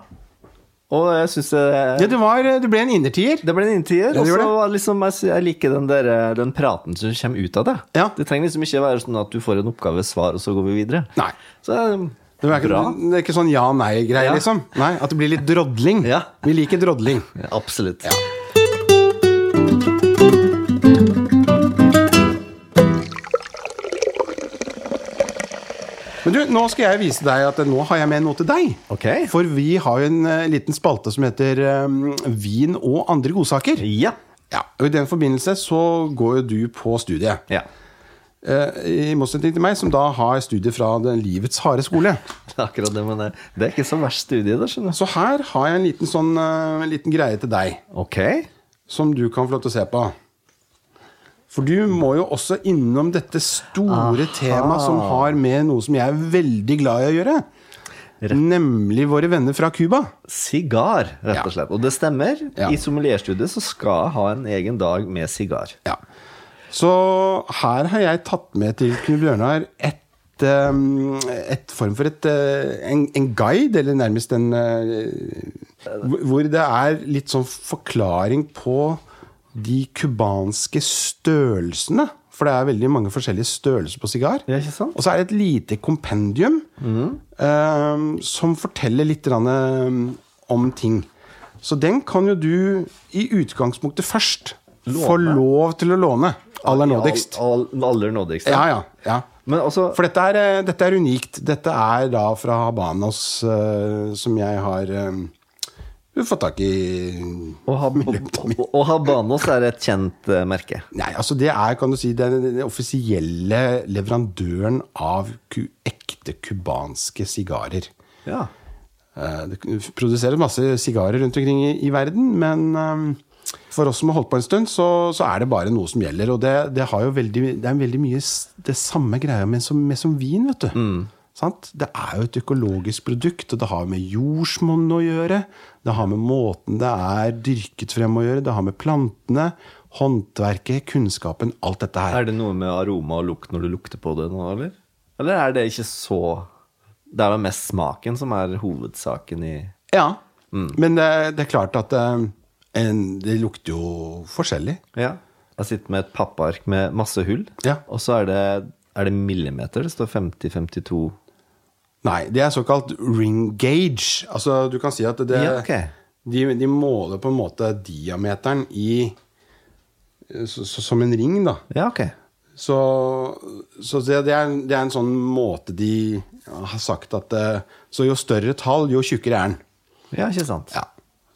Speaker 2: Og jeg syns det,
Speaker 1: Ja, det, var, det ble en innertier.
Speaker 2: det ble en inntier.
Speaker 1: Ja,
Speaker 2: og
Speaker 1: det
Speaker 2: så
Speaker 1: gjorde det.
Speaker 2: var liksom, jeg, sy- jeg liker den, der, eh, den praten som kommer ut av det.
Speaker 1: Ja.
Speaker 2: Det trenger liksom ikke være sånn at du får en oppgave, svar, og så går vi videre.
Speaker 1: Nei.
Speaker 2: Så um,
Speaker 1: Det er, ikke,
Speaker 2: bra.
Speaker 1: det er ikke sånn ja-nei-greie,
Speaker 2: Ja.
Speaker 1: liksom. Nei, At det blir litt drodling.
Speaker 2: Ja.
Speaker 1: Vi liker drodling.
Speaker 2: Ja, Absolutt.
Speaker 1: Men du, nå skal jeg vise deg at nå har jeg med noe til deg.
Speaker 2: Ok.
Speaker 1: For vi har jo en eh, liten spalte som heter eh, Vin og andre godsaker.
Speaker 2: Ja.
Speaker 1: Ja, og I den forbindelse så går jo du på studiet.
Speaker 2: ja.
Speaker 1: Eh, I motsetning til meg, som da har studier fra den livets harde skole.
Speaker 2: Det er Akkurat det, men det, det er ikke så verst studie, da, skjønner du.
Speaker 1: Så her har jeg en liten, sånn, eh, en liten greie til deg,
Speaker 2: Ok.
Speaker 1: som du kan få lov til å se på. For du må jo også innom dette store temaet som har med noe som jeg er veldig glad i å gjøre. Nemlig våre venner fra Cuba.
Speaker 2: Sigar, rett og slett. Og det stemmer.
Speaker 1: Ja.
Speaker 2: I sommelierstudiet så skal jeg ha en egen dag med sigar.
Speaker 1: Ja. Så her har jeg tatt med til Knut Bjørnar et, um, et form for et, uh, en, en guide, eller nærmest en uh, hvor- Hvor det er litt sånn forklaring på de cubanske størrelsene. For det er veldig mange forskjellige størrelser på sigar.
Speaker 2: Ja, ikke sant?
Speaker 1: Og så er det et lite kompendium eh, som forteller litt grann, eh, om ting. Så den kan jo du i utgangspunktet først få lov til å låne. Aller nådigst.
Speaker 2: All, all, aller nådigst.
Speaker 1: Ja, ja, ja.
Speaker 2: Men altså
Speaker 1: For dette er, eh, dette er unikt. Dette er da fra Habanos, eh, som jeg har eh, fått tak i
Speaker 2: Å ha, å ha Banos er et kjent eh, merke.
Speaker 1: Nei, altså det er kan du si, den, den offisielle leverandøren av ku, ekte cubanske sigarer.
Speaker 2: Ja.
Speaker 1: Eh, Det produseres masse sigarer rundt omkring i, i verden, men eh, for oss som har holdt på en stund, så, så er det bare noe som gjelder. Og det, det, har jo veldig, det er veldig mye s- det samme greia med som, med som vin, vet du. Sant? Det er jo et økologisk produkt, og det har med jordsmonn å gjøre. Det har med måten det er dyrket frem å gjøre, det har med plantene, håndverket, kunnskapen, alt dette her.
Speaker 2: Er det noe med aroma og lukt når du lukter på det nå, eller? Eller er det ikke så Det er vel mest smaken som er hovedsaken i
Speaker 1: Ja. Men det, det er klart at eh, en, det lukter jo forskjellig.
Speaker 2: Ja. Jeg sitter med et pappark med masse hull,
Speaker 1: Ja.
Speaker 2: og så er det, er det millimeter. Det står 50-52
Speaker 1: Nei, det er såkalt ring gauge. Altså, du kan si at det,
Speaker 2: Ja, ok.
Speaker 1: de, de måler på en måte diameteren i eh, så, så, Som en ring, da.
Speaker 2: Ja, ok.
Speaker 1: Så, så det, det, er, det er en sånn måte de har sagt at eh, Så jo større tall, jo tjukkere er den.
Speaker 2: Ja, ikke sant.
Speaker 1: Ja.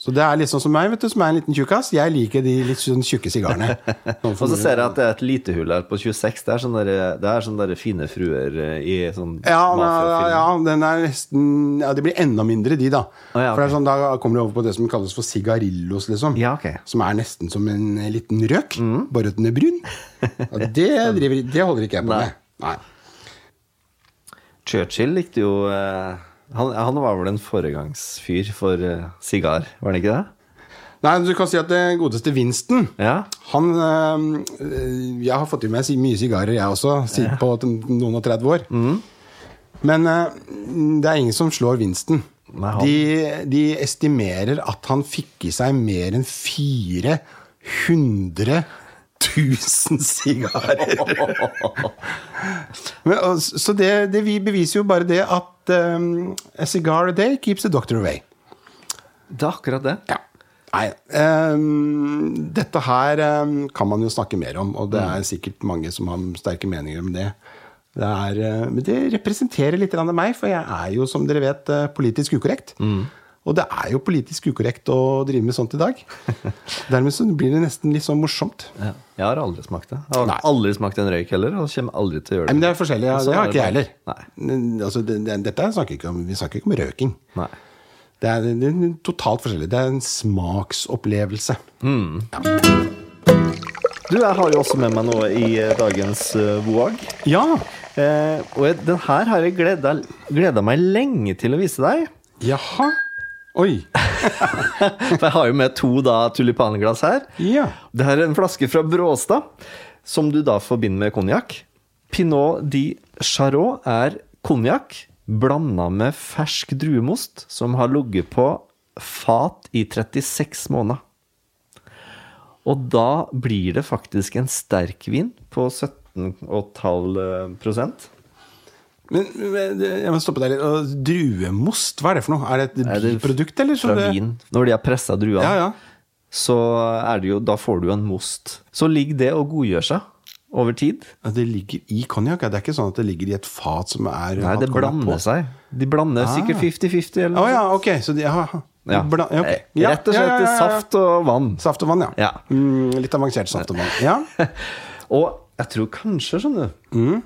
Speaker 1: Så det er litt sånn som meg, vet du, som er en liten tjukkas. Jeg liker de litt sånn tjukke sigarene. Sånn
Speaker 2: Og
Speaker 1: for
Speaker 2: så
Speaker 1: moro.
Speaker 2: ser jeg at det er et lite hull her på 26. Det er sånne, der, det er sånne der fine fruer eh, i sånn
Speaker 1: ja, ja,
Speaker 2: mafiafilm.
Speaker 1: ja, den er nesten ja, Det blir enda mindre, de, da.
Speaker 2: Å, ja,
Speaker 1: For det er sånn, Da kommer du over på det som kalles for sigarillos, liksom.
Speaker 2: Ja, ok.
Speaker 1: Som er nesten som en eh, liten røk, bare at den er brun. Og det, driver, det holder ikke jeg på
Speaker 2: Nei.
Speaker 1: med. Nei.
Speaker 2: Churchill likte jo eh, han, han var vel en foregangsfyr for eh, sigar, var han ikke det?
Speaker 1: Nei, du kan si at det godeste Winston
Speaker 2: Ja.
Speaker 1: Han eh, Jeg har fått i meg si- mye sigarer, jeg også, si- på t- noen og 30 år.
Speaker 2: Mhm.
Speaker 1: Men eh, det er ingen som slår Winston.
Speaker 2: Nei, han-
Speaker 1: De, de estimerer at han fikk i seg mer enn 400 000 sigarer. Men, og s- så det, det vi beviser jo bare det at eh, A cigar a day keeps the doctor away.
Speaker 2: Det er akkurat det.
Speaker 1: Ja. Nei, ehm, dette her ehm, kan man jo snakke mer om, og det
Speaker 2: Mm.
Speaker 1: er sikkert mange som har sterke meninger om det. Det, er, eh, men det representerer litt grann meg, for jeg er jo, som dere vet, eh, politisk ukorrekt.
Speaker 2: Mm.
Speaker 1: Og det er jo politisk ukorrekt å drive med sånt i dag. Dermed så blir det nesten litt sånn morsomt.
Speaker 2: Ja. Jeg har aldri smakt det. Jeg har
Speaker 1: Nei.
Speaker 2: aldri smakt en røyk heller, og kommer aldri til å gjøre
Speaker 1: Nei,
Speaker 2: det.
Speaker 1: men det er forskjellig.
Speaker 2: Og sånn
Speaker 1: Det har
Speaker 2: er
Speaker 1: ikke jeg
Speaker 2: det
Speaker 1: heller.
Speaker 2: bare.
Speaker 1: N- Altså, det, det, dette snakker ikke om, vi snakker ikke om røking.
Speaker 2: Nei.
Speaker 1: Det er, det er totalt forskjellig. Det er en smaksopplevelse.
Speaker 2: Du, jeg har jo også med meg noe i eh, dagens eh, voag.
Speaker 1: Ja!
Speaker 2: Eh, og jeg- den her har jeg gleda, gleda meg lenge til å vise deg.
Speaker 1: Jaha. Oi.
Speaker 2: For jeg har jo med to da tulipanglass her.
Speaker 1: Ja.
Speaker 2: Det her er en flaske fra Bråstad, som du da forbinder med konjakk. Pinot di Charot er konjakk blanda med fersk druemost som har ligget på fat i 36 måneder. Og da blir det faktisk en sterk vin på 17,5 eh, prosent.
Speaker 1: Men men, jeg må stoppe deg litt. Og Druemost, hva er det for noe? Er det
Speaker 2: Er
Speaker 1: et
Speaker 2: det
Speaker 1: biprodukt, eller? som
Speaker 2: fra
Speaker 1: det-
Speaker 2: vin. Når de har pressa druene,
Speaker 1: Ja, ja.
Speaker 2: så er det jo, da får du jo en most. Så ligger det og godgjør seg over tid.
Speaker 1: Ja, Det ligger i konjakk? ja. Det er ikke sånn at det ligger i et fat som er
Speaker 2: Nei, det blander seg. De blander sikkert 50-50 eller
Speaker 1: Ah. Å
Speaker 2: noe.
Speaker 1: ja, ok. Så de, ja.
Speaker 2: Ja.
Speaker 1: Bla, ja, ok.
Speaker 2: Eh, Rett og slett
Speaker 1: ja, ja, ja, ja.
Speaker 2: saft og vann.
Speaker 1: Saft og vann, ja.
Speaker 2: Ja.
Speaker 1: Mm, litt avansert saft og vann. Ja.
Speaker 2: Og jeg tror kanskje, skjønner du,
Speaker 1: Mm.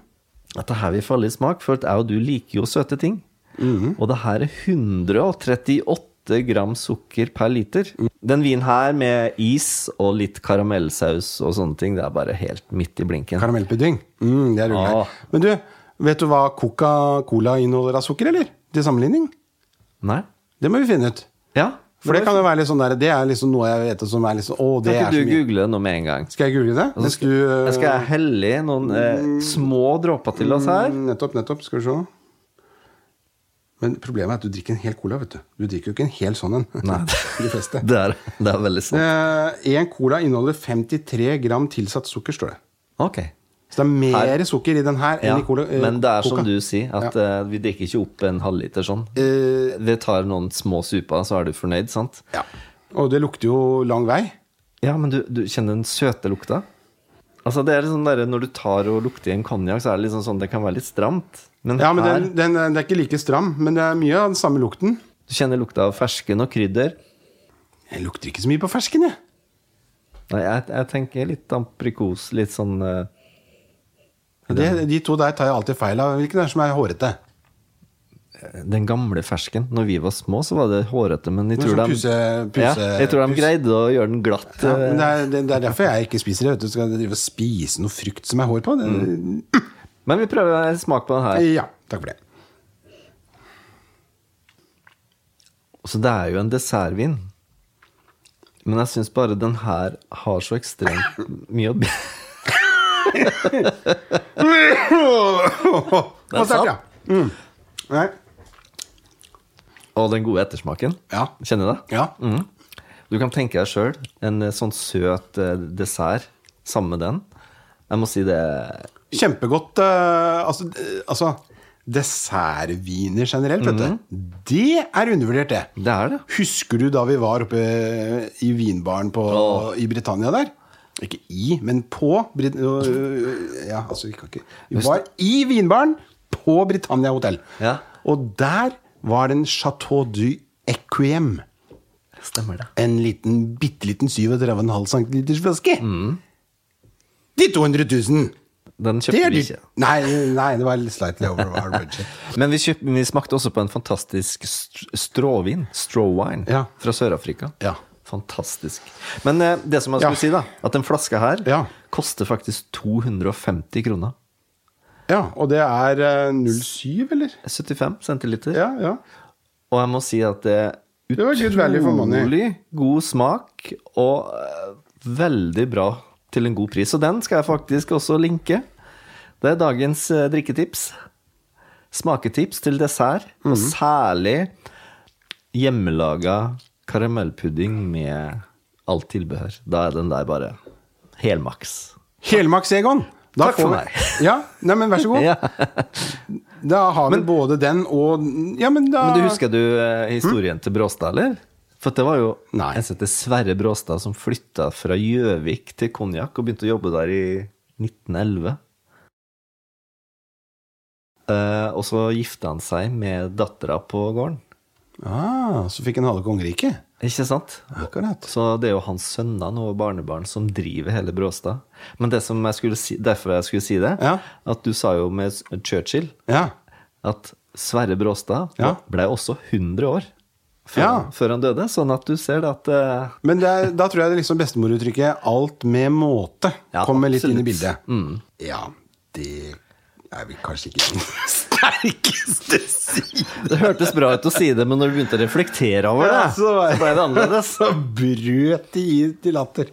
Speaker 2: at det her vil falle i smak, for at jeg og du liker jo søte ting.
Speaker 1: Mm.
Speaker 2: Og det her er 138 gram sukker per liter. Den vinen her med is og litt karamellsaus og sånne ting, det er bare helt midt i blinken.
Speaker 1: Karamellpudding. Mm, det er rolig.
Speaker 2: Ah.
Speaker 1: Men du, vet du hva Coca-Cola inneholder av sukker, eller? Til sammenligning?
Speaker 2: Nei?
Speaker 1: Det må vi finne ut.
Speaker 2: Ja?
Speaker 1: For det kan jo være litt sånn der, det er liksom noe jeg vet som er litt sånn Å, det
Speaker 2: Kan
Speaker 1: er så
Speaker 2: ikke du
Speaker 1: mye.
Speaker 2: google noe med en gang?
Speaker 1: Skal jeg google det?
Speaker 2: Så
Speaker 1: Mens
Speaker 2: skal,
Speaker 1: du eh,
Speaker 2: jeg skal jeg helle i noen eh, små dråper til oss her?
Speaker 1: Mm, Nettopp, nettopp. Skal vi se. Men problemet er at du drikker en hel cola, vet du. Du drikker jo ikke en hel sånn en.
Speaker 2: Nei.
Speaker 1: De fleste.
Speaker 2: Det er, det er veldig sant.
Speaker 1: Én cola inneholder 53 gram tilsatt sukker, står det.
Speaker 2: Ok.
Speaker 1: Så det er mer sukker i den her
Speaker 2: Ja,
Speaker 1: enn i cola. eh,
Speaker 2: men det er som
Speaker 1: coca.
Speaker 2: du sier, at eh, vi drikker ikke opp en halvliter sånn.
Speaker 1: Eh,
Speaker 2: Vi tar noen små super, så er du fornøyd, sant?
Speaker 1: ja. Og det lukter jo lang vei.
Speaker 2: Ja, men du, du kjenner den søte lukta? Altså, det er sånn der, Når du tar og lukter i en konjakk, så er det liksom sånn, det kan være litt stramt. Men,
Speaker 1: Ja, men
Speaker 2: her,
Speaker 1: den, den, den er ikke like stram, men det er mye av den samme lukten.
Speaker 2: du kjenner lukta av fersken og krydder.
Speaker 1: Jeg lukter ikke så mye på fersken, jeg.
Speaker 2: Nei, jeg, jeg tenker litt aprikos, litt sånn eh,
Speaker 1: Det, de to der tar jeg alltid feil av. Hvilken er det som er hårete?
Speaker 2: Den gamle fersken. Når vi var små, så var det hårete, men jeg
Speaker 1: Men
Speaker 2: tror,
Speaker 1: sånn
Speaker 2: de,
Speaker 1: puse- puse-
Speaker 2: ja, jeg tror de
Speaker 1: pus-
Speaker 2: greide å gjøre den glatt.
Speaker 1: Ja,
Speaker 2: eh,
Speaker 1: men det, er, det, det er derfor jeg ikke spiser det. Vet du. Skal jeg drive og spise noe frukt som jeg har hår på? Det,
Speaker 2: Mm. Men vi prøver en smak på den her.
Speaker 1: Ja, takk for det.
Speaker 2: Så det er jo en dessertvin. Men jeg syns bare den her har så ekstremt mye å by
Speaker 1: Den
Speaker 2: er sant.
Speaker 1: Mm. Nei.
Speaker 2: Og den gode ettersmaken.
Speaker 1: Ja.
Speaker 2: Kjenner du det?
Speaker 1: ja.
Speaker 2: Du kan tenke deg sjøl en eh, sånn søt eh, dessert sammen med den. Jeg må si det
Speaker 1: Kjempegodt. eh, altså, eh, altså Dessertviner generelt, vet du. Det er undervurdert, det.
Speaker 2: Mhm. Det er det.
Speaker 1: Husker du da vi var oppe i vinbaren på,
Speaker 2: Åh.
Speaker 1: i Britannia der? Ikke i, men på Brit øh, Ja, altså, vi kan ikke Vi var i vinbaren på Britannia hotell.
Speaker 2: Ja.
Speaker 1: Og der var det en Chateau du Equiem
Speaker 2: Stemmer det.
Speaker 1: En liten, bitte liten 37,5 cm flaske.
Speaker 2: Mhm.
Speaker 1: De 200 000!
Speaker 2: Den
Speaker 1: Det
Speaker 2: kjøpte
Speaker 1: er
Speaker 2: vi
Speaker 1: dyrt.
Speaker 2: ikke.
Speaker 1: Nei, nei, det var slightly over our budget.
Speaker 2: Men vi, kjøp, vi smakte også på en fantastisk str- stråvin, strawwine,
Speaker 1: Ja.
Speaker 2: fra Sør-Afrika.
Speaker 1: Ja.
Speaker 2: Fantastisk. Men eh, det som jeg
Speaker 1: Ja.
Speaker 2: skulle si, da, at den flaska her
Speaker 1: Ja.
Speaker 2: koster faktisk 250 kroner.
Speaker 1: Ja, og det er eh, 07, eller?
Speaker 2: 75 centiliter.
Speaker 1: Ja, ja.
Speaker 2: Og jeg må si at det er
Speaker 1: var good value for money.
Speaker 2: utrolig god smak og eh, veldig bra til en god pris. Og den skal jeg faktisk også linke. Det er dagens eh, drikketips. Smaketips til dessert, og
Speaker 1: Mhm.
Speaker 2: særlig hjemmelaga karamellpudding med alt tilbehør. Da er den der bare helmaks.
Speaker 1: Helmaks Egon! Da
Speaker 2: Takk for
Speaker 1: får vi-
Speaker 2: meg.
Speaker 1: Ja, nei, men vær så god.
Speaker 2: Ja.
Speaker 1: Da har vi både den og Ja, men da
Speaker 2: Men du husker du eh, historien til Bråstad, eller? For det var jo
Speaker 1: Hm? Nei.
Speaker 2: en som heter Sverre Bråstad som flytta fra Gjøvik til Konjakk og begynte å jobbe der i 1911. Eh, og så gifta han seg med dattera på gården.
Speaker 1: Ah, så fikk han halve kongeriket.
Speaker 2: Ikke sant?
Speaker 1: Akkurat.
Speaker 2: Så det er jo hans sønner nå og barnebarn som driver hele Bråstad. Men det som jeg skulle si, derfor jeg skulle si det,
Speaker 1: Ja.
Speaker 2: at du sa jo med Churchill
Speaker 1: Ja.
Speaker 2: at Sverre Bråstad
Speaker 1: Ja.
Speaker 2: ble også 100 år før,
Speaker 1: Ja.
Speaker 2: før han døde. Sånn at du ser det at eh,
Speaker 1: Men det er, da tror jeg det liksom bestemoruttrykket 'alt med måte'
Speaker 2: Ja,
Speaker 1: kommer litt inn i
Speaker 2: absolutt. Mm.
Speaker 1: bildet. Ja, det er vel kanskje ikke den sterkeste siden.
Speaker 2: Det hørtes bra ut å si det, men når du begynte å reflektere over det,
Speaker 1: Ja,
Speaker 2: så
Speaker 1: så var-
Speaker 2: ble det annerledes.
Speaker 1: Så brøt de i til latter.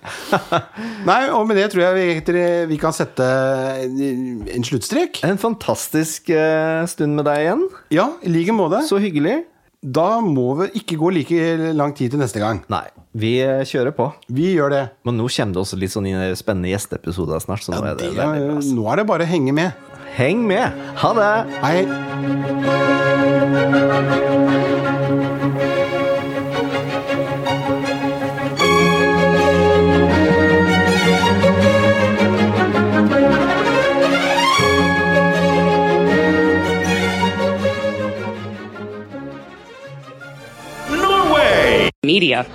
Speaker 1: Nei, og med det tror jeg vi, egentlig- vi kan sette en en sluttstrek.
Speaker 2: En fantastisk eh, stund med deg igjen.
Speaker 1: Ja, i like måte.
Speaker 2: Så hyggelig.
Speaker 1: Da må vi ikke gå like lang tid til neste gang.
Speaker 2: Nei, vi eh, kjører på.
Speaker 1: Vi gjør det.
Speaker 2: Men nå kommer det også litt sånn inn- spennende gjesteepisoder snart. Så nå er det
Speaker 1: Det
Speaker 2: veldig
Speaker 1: er-
Speaker 2: bra. altså.
Speaker 1: nå er det bare å henge med.
Speaker 2: Heng med! Ha det!
Speaker 1: Hei.
Speaker 3: media.